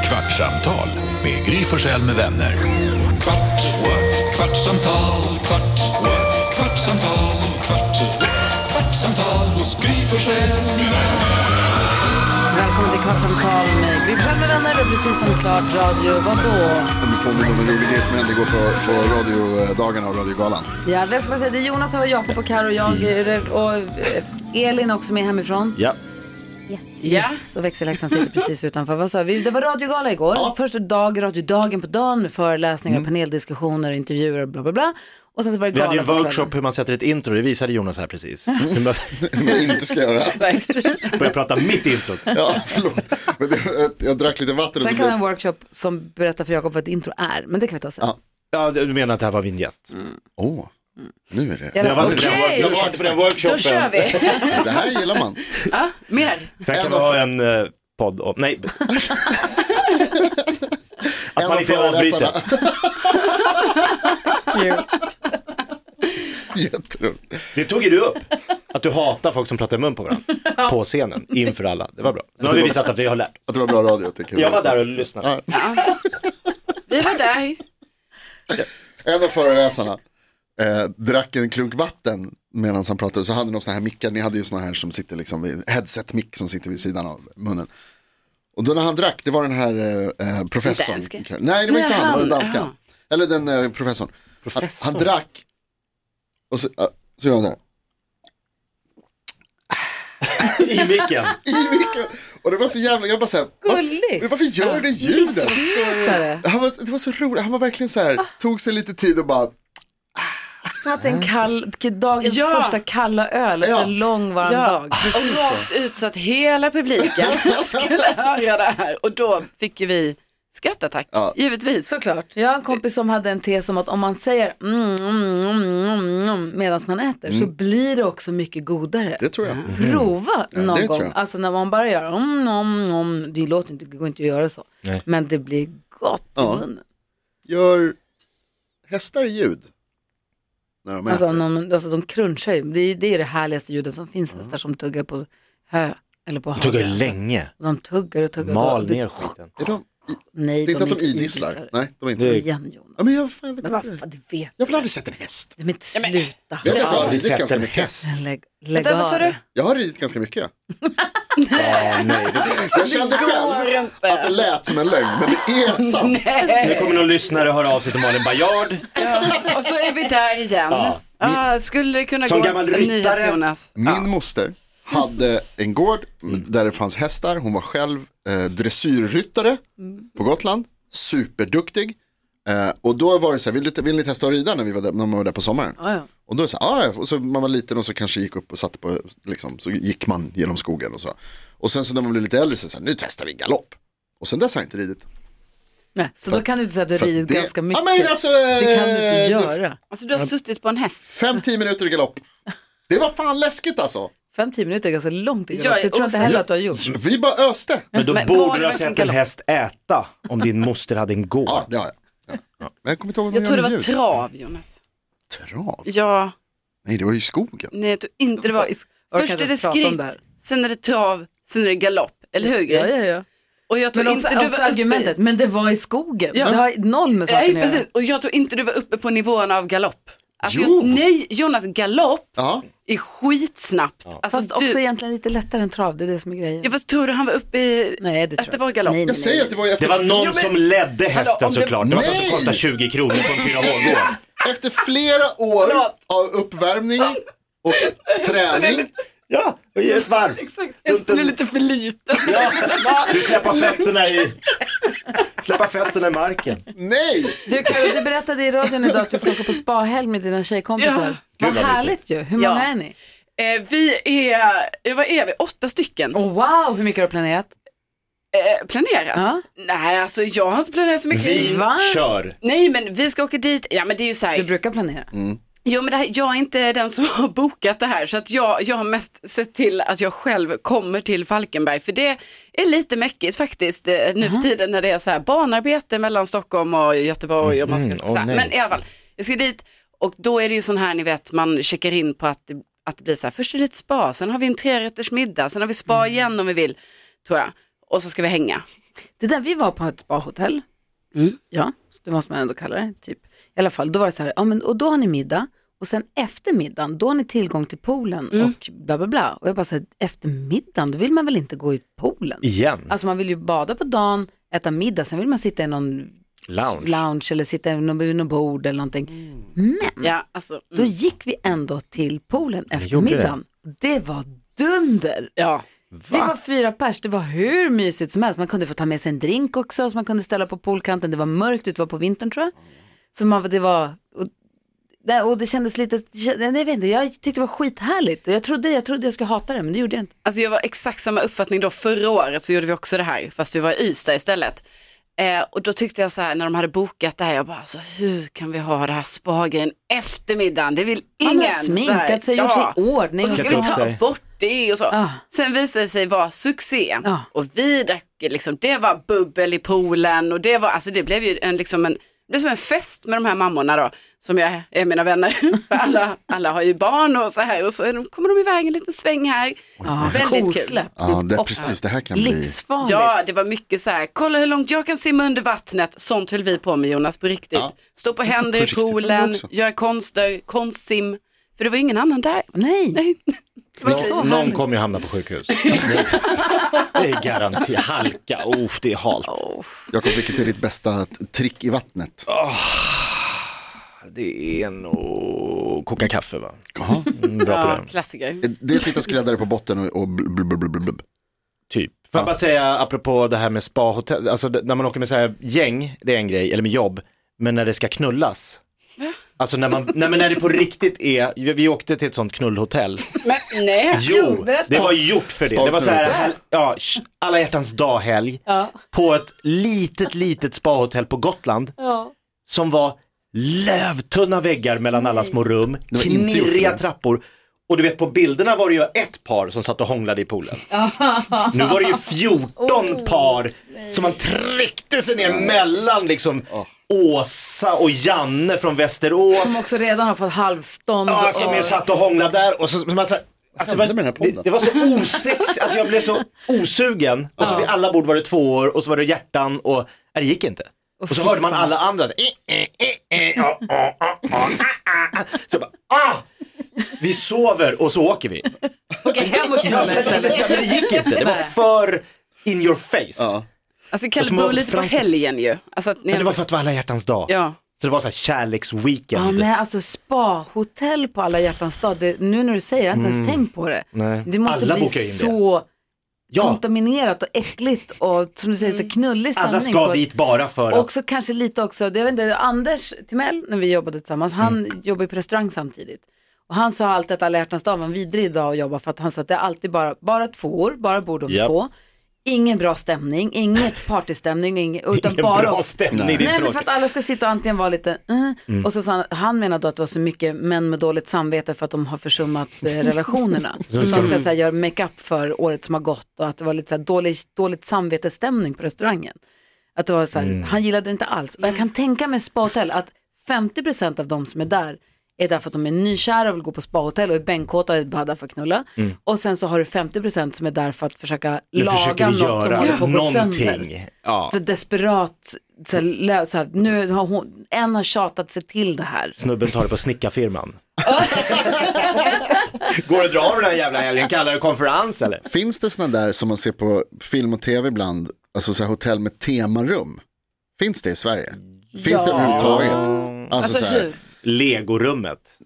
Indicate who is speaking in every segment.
Speaker 1: Kvartsamtal med Gry Forssell med vänner. Kvart, what? kvartsamtal, kvart, what? kvartsamtal, kvart, what? kvartsamtal hos Gry Forssell med vänner.
Speaker 2: Välkommen till Kvartsamtal med Gry Forssell med vänner. Det är precis som klart radio. Vadå?
Speaker 3: Jag blir påmind om en rolig grej som hände igår på, på radiodagarna och radiogalan.
Speaker 2: Ja, vem ska man säga? Det är Jonas och Jakob och Karo och jag eh, och eh, Elin också med hemifrån.
Speaker 4: Ja.
Speaker 2: Ja. Yes. Och växelhäxan sitter precis utanför. Vad sa vi? Det var radiogala igår. Första dag, radiodagen på dagen med föreläsningar, paneldiskussioner, intervjuer och bla bla bla. Och sen så var det
Speaker 4: Vi
Speaker 2: gala
Speaker 4: hade ju en
Speaker 2: på kvällen.
Speaker 4: workshop hur man sätter ett intro, det visade Jonas här precis. Hur man
Speaker 3: Men inte ska göra.
Speaker 4: börjar prata mitt introt.
Speaker 3: Ja, förlåt. Men det, eh, jag drack lite vatten och så
Speaker 2: Sen kan vi ha en
Speaker 3: blev...
Speaker 2: workshop som berättar för Jakob vad ett intro är. Men det kan vi ta sen.
Speaker 3: Ja.
Speaker 4: Ja, du menar att det här var vignett?
Speaker 3: Åh, nu är det.
Speaker 2: Ja.
Speaker 4: Jag var inte på den wor-
Speaker 5: Okej.
Speaker 4: jag var inte på den workshopen.
Speaker 5: Då kör vi.
Speaker 3: Det här gillar man.
Speaker 2: Mer.
Speaker 4: Sen kan vi ha en eh, podd om, nej. att man inte avbryter.
Speaker 3: Jätteroligt.
Speaker 4: Det tog ju du upp. Att du hatar folk som pratar i mun på varandra. På scenen, inför alla. Det var bra. Nu har vi visat att vi har lärt.
Speaker 3: Att det var bra radio tycker
Speaker 4: Jag var där och lyssnade.
Speaker 5: Vi var där.
Speaker 3: En av föreläsarna eh, drack en klunk vatten medan han pratade. Så hade ni sådana här mickar, ni hade ju sådana här som sitter liksom, vid- headset-mick som sitter vid sidan av munnen. Och då när han drack, det var den här eh, eh, professorn.
Speaker 5: Danske.
Speaker 3: Nej, det var inte
Speaker 5: Nej,
Speaker 3: han, det var den
Speaker 5: han,
Speaker 3: danskan.
Speaker 5: jaha.
Speaker 3: Eller den eh, professorn.
Speaker 4: Professor.
Speaker 3: Han, han drack, och så, eh, så gjorde han så här.
Speaker 4: I micken.
Speaker 3: I micken. Och det var så jävla, jag bara så här,
Speaker 2: Gulligt.
Speaker 3: "Var- varför gör det ljudet?
Speaker 2: Tittare.
Speaker 3: Han var, det var så roligt, han var verkligen så här, tog sig lite tid och bara,
Speaker 2: Satt en kall, dagens
Speaker 5: Ja.
Speaker 2: första kalla öl efter
Speaker 3: Ja.
Speaker 2: en lång varm
Speaker 5: Ja.
Speaker 2: dag.
Speaker 5: Och rakt ut så att hela publiken skulle höra det här. Och då fick ju vi skrattattack,
Speaker 3: Ja.
Speaker 5: givetvis.
Speaker 2: Såklart. Jag har en kompis som hade en tes om att om man säger mm, mm, mm, mm, mm, medan man äter så blir det också mycket godare.
Speaker 3: det tror jag.
Speaker 2: Prova någon
Speaker 3: det tror
Speaker 2: gång.
Speaker 3: jag.
Speaker 2: Alltså när man bara gör mm, mm, mm, det låter inte, det går inte att göra så. Men det blir gott
Speaker 3: Ja.
Speaker 2: i munnen.
Speaker 3: Gör hästar ljud? När de
Speaker 2: Alltså,
Speaker 3: äter.
Speaker 2: någon, alltså de crunchar ju, det är, det är det härligaste ljudet som finns hästar som tuggar på hö eller på
Speaker 4: Tog ju
Speaker 2: hagel.
Speaker 4: länge.
Speaker 2: De tuggar och tuggar.
Speaker 4: Mal
Speaker 2: och det-
Speaker 4: ner skiten.
Speaker 3: Är de,
Speaker 2: Nej,
Speaker 3: det är inte att de
Speaker 2: inte
Speaker 3: idisslar. Nej, de är inte
Speaker 4: Det-
Speaker 3: det.
Speaker 2: Igen Jonas.
Speaker 3: Ja, men jag, fan, jag vet
Speaker 2: Men
Speaker 3: inte.
Speaker 2: vad fan, det vet
Speaker 3: Jag har väl aldrig sett en häst.
Speaker 2: du. Men inte sluta.
Speaker 3: Jag vet att jag har
Speaker 4: aldrig
Speaker 3: ridit
Speaker 4: sett
Speaker 3: ganska
Speaker 4: en
Speaker 3: mycket.
Speaker 4: häst.
Speaker 2: Lägg, lägg
Speaker 5: Vänta, vad sa
Speaker 2: av.
Speaker 5: du?
Speaker 3: Jag har ridit ganska mycket.
Speaker 4: Ja, nej.
Speaker 3: Jag kände själv
Speaker 5: inte.
Speaker 3: att det lät som en lögn, men det är sant.
Speaker 4: Nu kommer någon lyssnare höra av sig till Malin Baryard.
Speaker 5: Ja. Och så är vi där igen.
Speaker 4: Ja.
Speaker 5: Ja. skulle det kunna
Speaker 4: Som
Speaker 5: gå
Speaker 4: gammal ryttare.
Speaker 5: Jonas?
Speaker 3: Min moster hade en gård där det fanns hästar. Hon var själv eh, dressyrryttare på Gotland. Superduktig. Eh, och då var det så här, vill ni, vill ni testa att rida när, vi var där, när man var där på sommaren?
Speaker 2: Ja, ja.
Speaker 3: Och då är det så här, "Ah, ja." och så man var liten och så kanske gick upp och satt på, liksom, så gick man genom skogen och så. Och sen så när man blev lite äldre så, så här, nu testar vi galopp. Och sen dess har jag inte ridit.
Speaker 2: Nej, så då kan du inte säga att du
Speaker 3: För
Speaker 2: ridit
Speaker 3: det-
Speaker 2: ganska mycket.
Speaker 3: Ja, men alltså,
Speaker 2: det kan du inte
Speaker 3: eh,
Speaker 2: göra.
Speaker 5: Alltså du har suttit på en häst.
Speaker 3: Fem, tio minuter i galopp. Det var fan läskigt alltså.
Speaker 2: Fem, tio minuter är ganska långt i
Speaker 5: Jag
Speaker 2: galopp, så
Speaker 5: är
Speaker 2: jag tror inte
Speaker 5: osäker.
Speaker 2: heller att du har gjort.
Speaker 3: Vi bara öste.
Speaker 4: Men då
Speaker 5: Men var
Speaker 4: borde
Speaker 5: det
Speaker 4: du ha
Speaker 5: verkligen
Speaker 4: sett en
Speaker 5: galopp?
Speaker 4: häst äta om din moster hade en gård.
Speaker 3: Ja, det har jag. Ja. Men jag kommer inte ihåg vad man
Speaker 5: Jag tror
Speaker 3: gör
Speaker 5: det var
Speaker 3: med ljud.
Speaker 5: trav Jonas.
Speaker 3: Trav?
Speaker 5: Ja,
Speaker 3: Nej, det var ju i skogen.
Speaker 5: nej jag tror inte det var.
Speaker 2: orkar
Speaker 5: Först
Speaker 2: inte
Speaker 5: är det
Speaker 2: ens prata om
Speaker 5: skritt,
Speaker 2: det här.
Speaker 5: sen är det trav, sen är det galopp. Eller hur? Gry?
Speaker 2: Ja, ja, ja.
Speaker 5: Och jag tror
Speaker 2: Men också,
Speaker 5: inte du var
Speaker 2: också
Speaker 5: uppe i-
Speaker 2: argumentet, men det var i skogen.
Speaker 5: Ja.
Speaker 2: Det har noll med saken att
Speaker 5: Nej, precis.
Speaker 2: göra.
Speaker 5: Och jag tror inte du var uppe på nivån av galopp. Alltså,
Speaker 3: Jo.
Speaker 5: jag, nej, Jonas, galopp
Speaker 3: Ja,
Speaker 5: är skitsnabbt. Alltså,
Speaker 2: Fast
Speaker 5: du,
Speaker 2: också egentligen lite lättare än trav, det är det som är grejen.
Speaker 5: ja, fast tror du han var uppe i...
Speaker 2: Nej, det tror
Speaker 5: att det var galopp?
Speaker 2: Nej, nej,
Speaker 3: jag
Speaker 2: nej.
Speaker 3: säger att det var ju
Speaker 4: Det
Speaker 3: efter,
Speaker 4: var någon
Speaker 5: Jo, men-
Speaker 4: som ledde hästen
Speaker 5: Hallå, om det-
Speaker 4: såklart. Det var sånt som
Speaker 3: Nej!
Speaker 4: kostade 20 kronor på en fyra hålgård.
Speaker 3: efter flera år av uppvärmning och träning.
Speaker 4: Ja, och ge ett varv.
Speaker 5: Hästen är lite för liten.
Speaker 4: Ja. Du släpper fötterna i... Släppa fötterna i marken.
Speaker 3: Nej,
Speaker 2: Du, Karo, du berättade i radion idag att du ska åka på spahelg med dina tjejkompisar.
Speaker 5: Ja.
Speaker 2: Vad
Speaker 4: Gud, vad
Speaker 2: härligt ju. Hur många
Speaker 5: Ja.
Speaker 2: är ni?
Speaker 5: Eh, vi är, eh, vad är vi, åtta stycken
Speaker 2: Oh, wow, hur mycket har du planerat?
Speaker 5: eh, planerat.
Speaker 2: Ja.
Speaker 5: Nej, alltså jag har inte planerat så mycket.
Speaker 4: Vi
Speaker 2: Va?
Speaker 4: kör.
Speaker 5: Nej, men vi ska åka dit. Ja, men det är ju så här.
Speaker 2: Du brukar planera.
Speaker 5: Jo, men det här, jag är inte den som har bokat det här så att jag, jag har mest sett till att jag själv kommer till Falkenberg för det är lite mäckigt faktiskt eh, nu
Speaker 4: Mhm.
Speaker 5: för tiden när det är så här banarbete mellan Stockholm och Göteborg. Och man ska,
Speaker 4: Mhm, åh
Speaker 5: så här.
Speaker 4: nej.
Speaker 5: Men i alla fall, jag ska dit och då är det ju sån här ni vet man checkar in på att,
Speaker 4: Mm.
Speaker 5: att det blir så här först är det ett spa, sen har vi en trerätters middag, sen har vi spa igen om vi vill tror jag. och så ska vi hänga.
Speaker 2: Det där, vi var på ett spa-hotell.
Speaker 4: Mm.
Speaker 2: Ja, det måste man ändå kalla det. Typ. I alla fall, då var det så här, ja, men, och då har ni middag och sen efter middagen, då har ni tillgång till poolen
Speaker 4: Mm.
Speaker 2: och bla bla bla. Och jag bara så här, efter middagen, då vill man väl inte gå i poolen?
Speaker 4: Igen.
Speaker 2: Alltså man vill ju bada på dagen, äta middag, sen vill man sitta i någon
Speaker 4: Lounge. Mm.
Speaker 2: lounge eller sitta i någon, vid någon bord eller någonting. Men
Speaker 5: Ja, alltså, mm.
Speaker 2: då gick vi ändå till poolen efter
Speaker 4: gjorde det.
Speaker 2: middagen. Det var dunder!
Speaker 5: ja.
Speaker 2: Vi var fyra pers, det var hur mysigt som helst. Man kunde få ta med sig en drink också som man kunde ställa på poolkanten. Det var mörkt, det var på vintern tror jag. Så man, det var, och, nej, och det kändes lite, nej, jag vet inte, jag tyckte det var skithärligt. Och Jag trodde, jag trodde jag skulle hata det, men det gjorde jag inte.
Speaker 5: Alltså jag var exakt samma uppfattning då förra året så gjorde vi också det här fast vi var i Ystad istället. Eh, och då tyckte jag så här när de hade bokat det här, jag bara alltså hur kan vi ha det här spagen eftermiddagen? Det vill ingen.
Speaker 2: Han har sminkat sig,
Speaker 5: Ja.
Speaker 2: gjort sig i ordning.
Speaker 5: Och så ska
Speaker 4: Klätt
Speaker 5: vi
Speaker 4: upp
Speaker 5: ta
Speaker 4: sig.
Speaker 5: bort det och så.
Speaker 2: Ah.
Speaker 5: Sen visade det sig vara succé.
Speaker 2: Ah.
Speaker 5: Och vi drack, liksom, det var bubbel i poolen och det var, alltså det blev ju en, liksom en, det blev som en fest med de här mammorna då, som jag är mina vänner. För alla, alla har ju barn och så här och så är de, kommer de iväg en liten sväng här.
Speaker 2: Ja,
Speaker 5: Väldigt kul.
Speaker 2: kosläpp.
Speaker 3: Ja, det,
Speaker 2: Och
Speaker 3: precis det här kan bli.
Speaker 2: Livsfarligt.
Speaker 5: Ja, det var mycket så här, kolla hur långt jag kan simma under vattnet. Sånt höll vi på med Jonas, på riktigt.
Speaker 3: Ja.
Speaker 5: Stå på händer i
Speaker 3: riktigt, det var det
Speaker 5: poolen,
Speaker 3: också.
Speaker 5: göra konster, konstsim. För det var ju ingen annan där.
Speaker 2: Nej.
Speaker 5: Nej.
Speaker 2: det var så
Speaker 4: Nå-
Speaker 2: härligt.
Speaker 4: någon kommer ju hamna på sjukhus. Det är garanti. Halka, oh, det är halt.
Speaker 3: Jakob, vilket är ditt bästa t- trick i vattnet?
Speaker 4: Det är nog koka kaffe va?
Speaker 3: Jaha.
Speaker 4: Mm, Bra på
Speaker 5: Ja,
Speaker 4: det.
Speaker 5: klassiker.
Speaker 3: Det är att sitta skräddare på botten och, och blub, blub, blub, blub, blub.
Speaker 4: Typ. Får jag bara säga apropå det här med spahotell, alltså d- när man åker med så här gäng, det är en grej, eller med jobb, men när det ska knullas. Alltså när, man, nej, men när det på riktigt är, vi vi åkte till ett sånt knullhotell.
Speaker 5: Men nej.
Speaker 4: Jo, det var gjort för det. Det var så här,
Speaker 3: Spa-knullhotell.
Speaker 4: ja, sh- alla hjärtans dag-helg på ett litet, litet spahotell på Gotland som var lövtunna väggar mellan alla små rum,
Speaker 3: var inte gjort för
Speaker 4: knirriga
Speaker 3: det.
Speaker 4: trappor. Och du vet på bilderna var det ju ett par som satt och hånglade i poolen. Nu var det ju 14 par som man tryckte sig ner mellan liksom Åsa och Janne från Västerås.
Speaker 2: Som också redan har fått halvstånd.
Speaker 4: Ja, som
Speaker 2: och-
Speaker 4: jag satt och hånglade där och så, så man så Alltså,
Speaker 3: hände med den här podden?
Speaker 4: det, det var så osexigt, alltså jag blev så osugen. Och så vid alla bord var det två år och så var det hjärtan och, nej det gick inte. Och så hörde man alla andra så, eh, eh, eh, eh, ah, ah, ah, ah, ah, ah. så jag bara, ah! Vi sover och så åker vi.
Speaker 2: Åka hem och
Speaker 4: Ja,
Speaker 2: knulla
Speaker 4: men, men,
Speaker 2: istället.
Speaker 4: men det gick inte, det var för in your face.
Speaker 3: Ja.
Speaker 5: Alltså
Speaker 4: Och
Speaker 5: Kalle
Speaker 4: som
Speaker 5: bor
Speaker 4: var
Speaker 5: lite
Speaker 4: Frankrike.
Speaker 5: på helgen ju. Alltså att ni
Speaker 4: Men det var för att det var alla hjärtans dag.
Speaker 5: Ja.
Speaker 4: Så det var så här kärleksweekend.
Speaker 2: Ja, nej, alltså spa-hotell på alla hjärtans dag, det, nu när du säger det, jag har inte ens tänkt på det.
Speaker 4: Mm. Nej.
Speaker 2: Det måste
Speaker 4: Alla
Speaker 2: bli
Speaker 4: bokar in det.
Speaker 2: så
Speaker 4: ja,
Speaker 2: kontaminerat och äckligt och som du säger så knullig stämning.
Speaker 4: alla ska
Speaker 2: på-
Speaker 4: dit bara för att,
Speaker 2: Också kanske lite också, det, jag vet inte, Anders Timell, när vi jobbade tillsammans, han
Speaker 4: Mm.
Speaker 2: jobbar ju på restaurang samtidigt. Och han sa alltid att alla hjärtans dag var en vidrig dag att jobba för att han sa att det är alltid bara, bara tvåor, bara bord om
Speaker 4: Japp.
Speaker 2: två. Ingen bra stämning, inget partystämning, inget, utan
Speaker 4: ingen
Speaker 2: bara
Speaker 4: bra stämning, det är
Speaker 2: Nej, men
Speaker 4: tråkigt. Mm.
Speaker 2: för att alla ska sitta och antingen vara lite eh, och så sa han, han menar då att det var så mycket män med dåligt samvete för att de har försummat eh, relationerna. Man ska så här, göra makeup för året som har gått och att det var lite så här, dålig, dåligt samvetesstämning på restaurangen. Att det var så här,
Speaker 4: Mm.
Speaker 2: han gillade det inte alls. Och jag kan tänka mig spahotell att 50% av de som är där är därför att de är nykära och vill gå på spahotell och är bänkkåta och är bara där för att knulla. Och sen så har du 50% som är där för att försöka
Speaker 4: Mm. nu
Speaker 2: laga
Speaker 4: försöker
Speaker 2: något
Speaker 4: vi
Speaker 2: som håller
Speaker 4: göra
Speaker 2: på att gå sönder
Speaker 4: någonting. Ja.
Speaker 2: så desperat, så här, lö- så här, nu har hon, en har tjatat sig till det här.
Speaker 4: Snubben tar det på snickarfirman. Går det att dra av den här jävla helgen? Kallar det konferens eller?
Speaker 3: Finns det sådana där som man ser på film och tv ibland, alltså så här hotell med temarum? Finns det i Sverige? Finns det överhuvudtaget? Alltså, så här,
Speaker 4: Legorummet.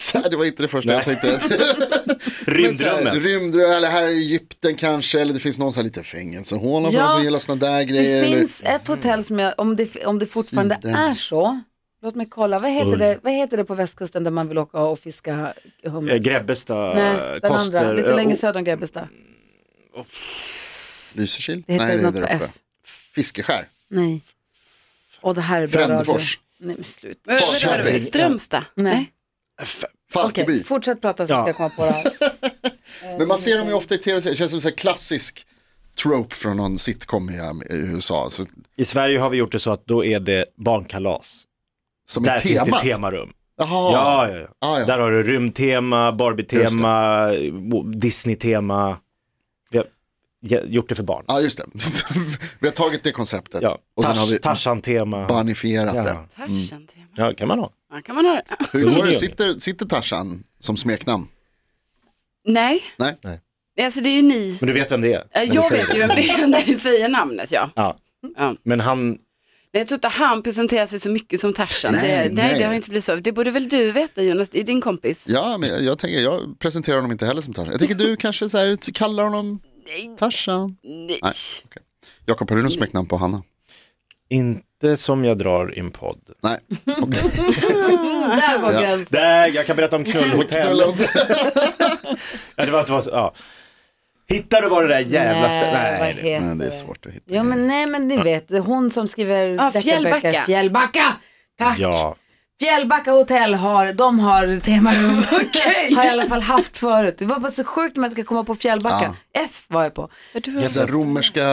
Speaker 3: så här, det var inte det första jag tänkte. Men så här,
Speaker 4: Rymdrummet.
Speaker 3: Rymdrum, eller här i Egypten kanske, eller det finns någon så här liten fängelsehåla för
Speaker 2: Ja,
Speaker 3: de som gillar sådana där
Speaker 2: Det
Speaker 3: grejer.
Speaker 2: finns ett hotell som jag, om det, om det fortfarande
Speaker 3: Siden.
Speaker 2: är så, låt mig kolla, vad heter, det, vad heter det på västkusten där man vill åka och fiska hummer?
Speaker 4: Eh, Grebbestad.
Speaker 2: Nej, den andra,
Speaker 4: Koster.
Speaker 2: lite längre
Speaker 4: eh,
Speaker 2: söder om Grebbestad.
Speaker 3: Eller Lysekil?
Speaker 2: Det heter
Speaker 3: Nej, det är
Speaker 2: något på
Speaker 3: där uppe.
Speaker 2: F.
Speaker 3: Fiskeskär?
Speaker 2: Nej. Och det här är bra
Speaker 3: Frändefors?
Speaker 2: radio. Nej men sluta.
Speaker 5: Men-
Speaker 3: Falköping.
Speaker 5: men- Strömstad.
Speaker 2: Nej.
Speaker 3: F-
Speaker 2: Okej,
Speaker 3: Falkeby?
Speaker 2: fortsätt prata så
Speaker 4: Ja.
Speaker 2: ska jag komma på det här.
Speaker 3: Men man ser dem ju ofta i tv, det känns som en klassisk trope från någon sitcom i um, i USA. Så,
Speaker 4: I Sverige har vi gjort det så att då är det barnkalas.
Speaker 3: som
Speaker 4: Där
Speaker 3: är
Speaker 4: finns det
Speaker 3: temat.
Speaker 4: temarum.
Speaker 3: Jaha,
Speaker 4: Ja, ja,
Speaker 3: Ah,
Speaker 4: ja.
Speaker 3: ja.
Speaker 4: Där har du rymdtema, Barbie-tema, Disney-tema. Vi har- ge- gjort det för barn.
Speaker 3: Ja, just det. vi har tagit det konceptet
Speaker 4: Ja.
Speaker 3: och sen har vi
Speaker 4: Tars- Tarzan-tema.
Speaker 3: barnifierat
Speaker 4: Ja.
Speaker 3: det.
Speaker 5: Tarzan-tema.
Speaker 4: ja, kan man ha.
Speaker 5: Ja, kan man ha det?
Speaker 3: Hur går det?
Speaker 4: Mm.
Speaker 3: Sitter, sitter Tarzan som smeknamn?
Speaker 5: Nej.
Speaker 3: Nej.
Speaker 4: Nej.
Speaker 5: Alltså det är ju ni.
Speaker 4: Men du vet vem det är?
Speaker 5: Eh,
Speaker 4: När
Speaker 5: Jag
Speaker 4: du säger
Speaker 5: vet ju vem det är när ni säger namnet ja.
Speaker 4: Ja.
Speaker 5: Ja.
Speaker 4: Men han,
Speaker 5: Nej, Jag tror inte han presenterar sig så mycket som Tarzan.
Speaker 3: Nej,
Speaker 5: Nej, det, nej,
Speaker 3: nej.
Speaker 5: det har inte blivit så. Det borde väl du veta Jonas, det är din kompis.
Speaker 3: Ja, men jag tänker, jag presenterar honom inte heller som Tarzan. Jag tänker du kanske så här, kallar honom Tarzan.
Speaker 5: Nej.
Speaker 3: Nej. okej. Jakob, har du något smeknamn på Hanna?
Speaker 4: inte som jag drar i en podd.
Speaker 3: Nej.
Speaker 2: Där var
Speaker 3: Ja.
Speaker 2: gränsen.
Speaker 4: Där, jag kan berätta om knullhotellet. ja, det var, det var, så- ja. Hittar du var det där jävla stället?
Speaker 2: vad
Speaker 4: Nej.
Speaker 2: heter
Speaker 3: Men det är
Speaker 2: det?
Speaker 3: svårt att hitta.
Speaker 2: Jo men nej men ni vet, det är hon som skriver
Speaker 5: Ja,
Speaker 2: deckarböcker.
Speaker 5: Fjällbacka.
Speaker 2: Fjällbacka! Tack!
Speaker 4: Ja.
Speaker 2: Fjällbacka hotell har, de har temarum. Har i alla fall haft förut. Det var bara så sjukt med att jag komma på Fjällbacka. F var jag på.
Speaker 3: Så här romerska,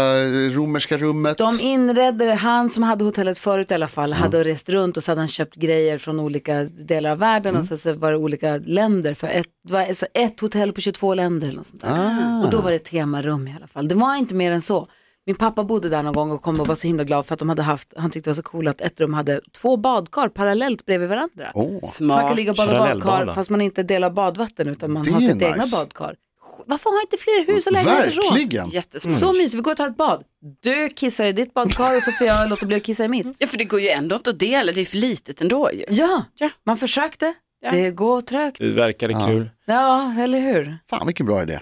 Speaker 3: romerska rummet.
Speaker 2: De inredde, han som hade hotellet förut i alla fall,
Speaker 3: Mm.
Speaker 2: hade rest runt och så hade han köpt grejer från olika delar av världen och
Speaker 3: Mm.
Speaker 2: så, så var det olika länder. För ett, det var alltså ett hotell på 22 länder eller något sånt där.
Speaker 3: Ah.
Speaker 2: Och då var det temarum i alla fall. Det var inte mer än så. Min pappa bodde där någon gång och kom och var så himla glad för att de hade haft, han tyckte det var så coolt att ett rum hade två badkar parallellt bredvid varandra.
Speaker 3: Åh,
Speaker 2: Man kan
Speaker 5: Smart.
Speaker 2: ligga och bada i badkar
Speaker 4: Parallellbada.
Speaker 2: fast man inte delar badvatten utan man
Speaker 3: Det
Speaker 2: har
Speaker 3: är
Speaker 2: sitt
Speaker 3: nice.
Speaker 2: egna badkar. Sj- Varför har inte fler hus och lägenheter så?
Speaker 3: verkligen.
Speaker 5: Jättesmart.
Speaker 2: Så mysigt, vi går och tar ett bad. Du kissar i ditt badkar och så får jag låta bli att kissa i mitt.
Speaker 5: Ja, för det går ju ändå inte att dela, det är för litet ändå ju.
Speaker 2: Ja,
Speaker 5: Ja.
Speaker 2: man försökte.
Speaker 5: Ja.
Speaker 2: Det går trögt.
Speaker 4: Det verkade kul.
Speaker 2: Ja, eller hur?
Speaker 3: Fan vilken bra idé.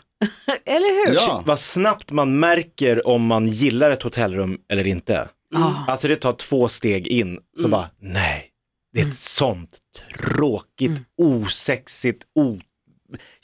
Speaker 2: Eller hur?
Speaker 3: Ja.
Speaker 4: Vad snabbt man märker om man gillar ett hotellrum eller inte.
Speaker 2: Ja.
Speaker 4: Alltså det tar två steg in, så
Speaker 2: Mm.
Speaker 4: bara nej, det är ett sånt tråkigt,
Speaker 2: Mm.
Speaker 4: osexigt, o...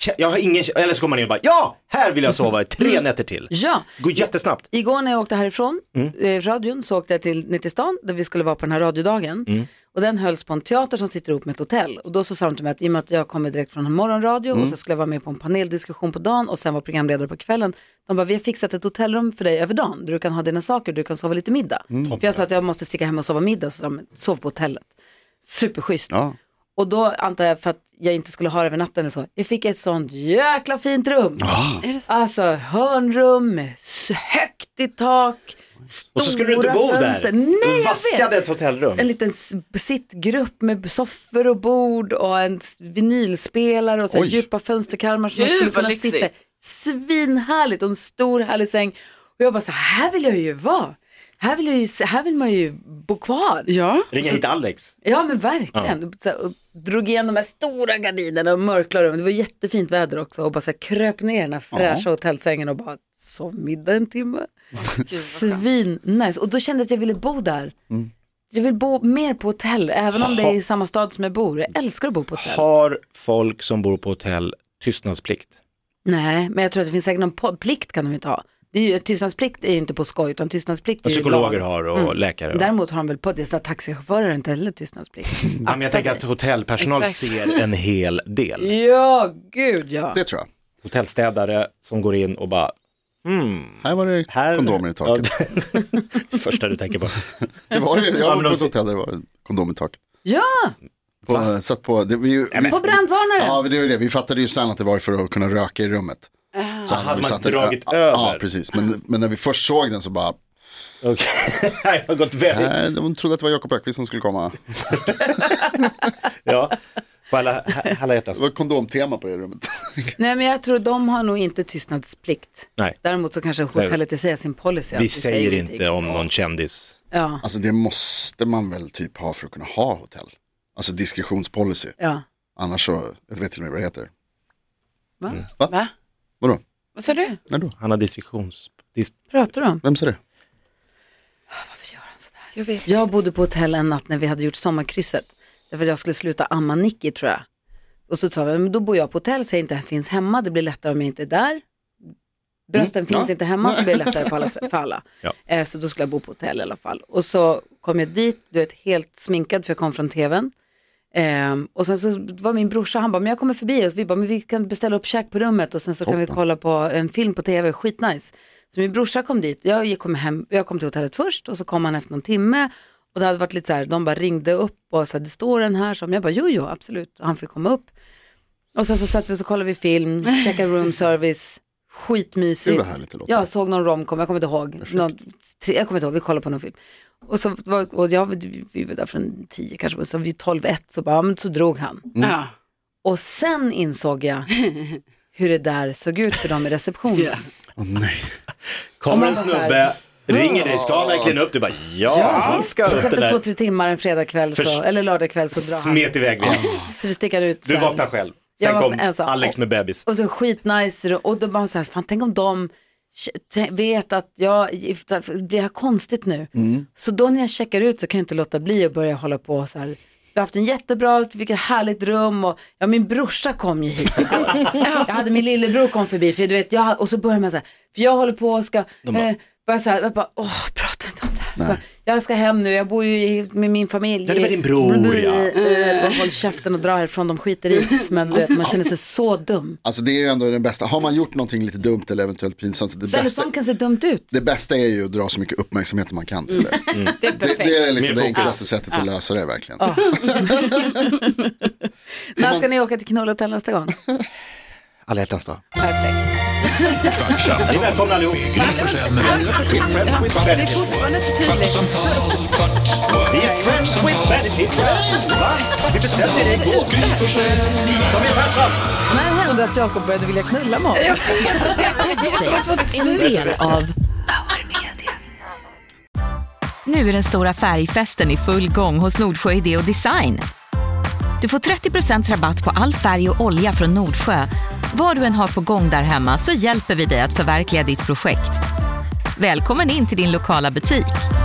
Speaker 4: Kä- Jag har ingen, eller så kommer man in och bara ja, här vill jag sova
Speaker 2: Mm.
Speaker 4: i tre nätter till.
Speaker 2: ja.
Speaker 4: Går jättesnabbt.
Speaker 2: Igår när jag åkte härifrån, eh, radion, så åkte jag till ner till stan där vi skulle vara på den här radiodagen. Och den hölls på en teater som sitter ihop med ett hotell. Och då så sa de till mig att i och med att jag kommer direkt från en morgonradio och så skulle jag vara med på en paneldiskussion på dagen och sen vara programledare på kvällen. De bara, vi har fixat ett hotellrum för dig över dagen där du kan ha dina saker, du kan sova lite middag. För jag sa att jag måste sticka hem och sova middag, så de, "Men sov på hotellet. Superschysst.
Speaker 3: Ja.
Speaker 2: Och då antar jag för att jag inte skulle ha det över natten eller så. Jag fick ett sånt jäkla fint rum.
Speaker 4: Ah.
Speaker 5: Är det så?
Speaker 2: Alltså hörnrum, med s- högt i tak, stora
Speaker 4: Och så skulle du inte bo
Speaker 2: fönster.
Speaker 4: där.
Speaker 2: Nej,
Speaker 4: du
Speaker 2: jag
Speaker 4: vaskade
Speaker 2: vet.
Speaker 4: ett hotellrum.
Speaker 2: En liten s- sittgrupp med soffor och bord och en s- vinylspelare och så här
Speaker 3: Oj.
Speaker 2: djupa fönsterkarmar som man
Speaker 5: Gud,
Speaker 2: skulle
Speaker 5: vad
Speaker 2: kunna
Speaker 5: lyxigt.
Speaker 2: sitta i. Svinhärligt och en stor härlig säng. Och jag bara så här, här vill jag ju vara. Här vill, jag ju, s- här vill man ju bo kvar.
Speaker 5: Ja.
Speaker 4: Ringa hit Alex.
Speaker 2: Ja men verkligen. Så här, och drog igen de här stora gardinerna och mörkla rum. Det var jättefint väder också och bara så här, kröp ner i den här fräscha hotellsängen och bara sov middag en timme. Svin nice. Och då kände jag att jag ville bo där. Jag vill bo mer på hotell, även om det är i samma stad som jag bor. Jag älskar att bo på hotell.
Speaker 4: Har folk som bor på hotell tystnadsplikt?
Speaker 2: Nej, men jag tror att det finns säkert någon po- plikt kan de ju inte ha. Det är ju, tystnadsplikt är ju inte på skoj, utan tystnadsplikt är ju
Speaker 4: Psykologer
Speaker 2: lag. Mm.
Speaker 4: har och läkare. Och.
Speaker 2: Däremot har de väl på det, så taxichaufförer har inte heller tystnadsplikt.
Speaker 4: Ja, men jag tänker att hotellpersonal
Speaker 5: Exakt.
Speaker 4: ser en hel del.
Speaker 2: ja, gud ja.
Speaker 3: Det tror jag.
Speaker 4: Hotellstädare som går in och bara,
Speaker 3: Här var det
Speaker 4: här...
Speaker 3: kondomer i taket.
Speaker 4: Ja, första du tänker på.
Speaker 3: Det var det. Jag
Speaker 4: Ja,
Speaker 3: var
Speaker 4: men
Speaker 3: på
Speaker 4: de-
Speaker 3: ett hotell där det var kondom i taket.
Speaker 2: Ja,
Speaker 3: På, satt på, det, vi, vi,
Speaker 2: på brandvarnaren.
Speaker 3: ja, men det var ju det. Vi fattade ju sen att det var ju för att kunna röka i rummet.
Speaker 2: Ah.
Speaker 3: Så
Speaker 4: hade
Speaker 3: vi
Speaker 4: man
Speaker 3: satt en-
Speaker 4: dragit
Speaker 3: ja, Ja,
Speaker 4: över? Ah.
Speaker 3: precis. Men, men när vi först såg den så bara,
Speaker 4: Okej, jag har gått väldigt,
Speaker 3: nej, de trodde att det var Jakob Ökvist som skulle komma.
Speaker 4: ja, på alla, alla hjärtans.
Speaker 3: Det var kondomtema på det rummet.
Speaker 2: Nej men jag tror de har nog inte tystnadsplikt.
Speaker 4: Nej.
Speaker 2: Däremot så kanske hotellet i sig har sin policy. att
Speaker 4: Vi säger
Speaker 2: ingenting.
Speaker 4: inte om någon kändis.
Speaker 2: Ja,
Speaker 3: Alltså det måste man väl typ ha för att kunna ha hotell. Alltså diskretionspolicy.
Speaker 2: ja.
Speaker 3: Annars så, jag vet till och med vad det heter.
Speaker 2: Va?
Speaker 4: Mm.
Speaker 5: Va?
Speaker 3: Vadå?
Speaker 5: Vad sa du?
Speaker 3: När då?
Speaker 4: Han har distriktions... Dis...
Speaker 2: Pratar du om?
Speaker 3: Vem sa det?
Speaker 2: Varför gör han sådär?
Speaker 5: Jag vet.
Speaker 2: Jag bodde på hotell en natt när vi hade gjort sommarkrysset. Därför att jag skulle sluta amma Nicky tror jag. Och så sa vi, men då bor jag på hotell så jag inte finns hemma. Det blir lättare om jag inte är där. Brösten finns
Speaker 3: ja.
Speaker 2: inte hemma så blir det lättare på alla, för alla.
Speaker 4: Mm. Ja.
Speaker 2: Eh, så då skulle jag bo på hotell i alla fall. Och så kom jag dit, du vet helt sminkad för jag kom från tvn. Ehm, och sen så var min brorsa, han bara, men jag kommer förbi och vi bara, men vi kan beställa upp käk på rummet och sen så kan vi kolla på en film på tv, skitnice. Så min brorsa kom dit, jag gick- kom, hem, jag kom till hotellet först och så kom han efter någon timme och det hade varit lite så här, de bara ringde upp och sa, det står en här som, jag bara, jo, jo, absolut, han fick komma upp. Och sen så satt vi och så kollade vi film, checkade room service, Skitmysigt.
Speaker 3: Gud, vad härligt det låter.
Speaker 2: Jag såg någon romcom, jag kommer inte ihåg. Någon, tre, jag kommer inte ihåg, vi kollade på någon film. Och, så var, och jag, vi var där från tio kanske, och så vid tolv, ett så, bara, ja, men så drog han.
Speaker 4: Mm.
Speaker 5: Ja.
Speaker 2: Och sen insåg jag hur det där såg ut för dem i receptionen.
Speaker 3: Åh, nej.
Speaker 4: Kommer en
Speaker 2: man så här-
Speaker 4: snubbe, ringer dig, ska han verkligen upp? Du bara ja,
Speaker 2: visst.
Speaker 4: ska
Speaker 2: så
Speaker 4: upp
Speaker 2: efter två,
Speaker 4: det
Speaker 2: tre timmar en fredagkväll, så,
Speaker 4: Förs-
Speaker 2: eller lördagkväll så
Speaker 4: där.
Speaker 2: drar han.
Speaker 4: Smet iväg det.
Speaker 2: Så sticker han ut.
Speaker 4: Du
Speaker 2: sen.
Speaker 4: vaknar själv.
Speaker 2: Jag
Speaker 4: Sen
Speaker 2: vaknar
Speaker 4: kom
Speaker 2: ensam.
Speaker 4: Alex med bebis.
Speaker 2: Och så skitnice och då bara så här, fan tänk om de ch- vet att jag blir här konstigt nu.
Speaker 4: Mm.
Speaker 2: Så då när jag checkar ut så kan jag inte låta bli att börja hålla på så här. Vi har haft en jättebra, vilket härligt rum och ja, min brorsa kom ju hit. jag hade min lillebror kom förbi för du vet, jag, och så börjar man så här, för jag håller på och ska, eh, bara så här, jag bara, åh, prata inte om det här. Jag ska hem nu, jag bor ju i- med min familj.
Speaker 4: Ja, det var din bror, ja.
Speaker 2: Eh, bara Håll käften och dra härifrån, de skiter i det. Men du vet, man känner sig så dum.
Speaker 3: Alltså det är ju ändå den bästa, har man gjort någonting lite dumt eller eventuellt pinsamt, så det,
Speaker 2: Så eller
Speaker 3: bästa,
Speaker 2: sånt kan se dumt ut.
Speaker 3: det bästa är ju att dra så mycket uppmärksamhet som man kan
Speaker 2: Mm.
Speaker 3: till det.
Speaker 5: Det är
Speaker 3: Det,
Speaker 5: perfekt.
Speaker 3: det är liksom det
Speaker 4: Mer fokus.
Speaker 3: enklaste sättet att lösa det verkligen.
Speaker 2: När ska ni åka till Knollhotell nästa gång?
Speaker 4: Alla hjärtans dag.
Speaker 2: Perfekt.
Speaker 1: Kvartsamtal
Speaker 4: Ni är välkomna allihop.
Speaker 1: med Gry Forssell med vänner.
Speaker 4: Friends with benefits.
Speaker 5: fortfarande inte tydligt.
Speaker 1: Kvartsamtal, kvart, what?
Speaker 4: Vi är friends with benefits. Va? Vi bestämde det igår.
Speaker 1: Gry Forssell med vänner.
Speaker 4: Kom igen farsan.
Speaker 2: När hände att Jakob började vilja knulla med oss?
Speaker 6: En del av Nu är den stora färgfesten i full gång hos Nordsjö Idé och Design. Du får 30 rabatt på all färg och olja från Nordsjö. Vad du än har på gång där hemma så hjälper vi dig att förverkliga ditt projekt. Välkommen in till din lokala butik.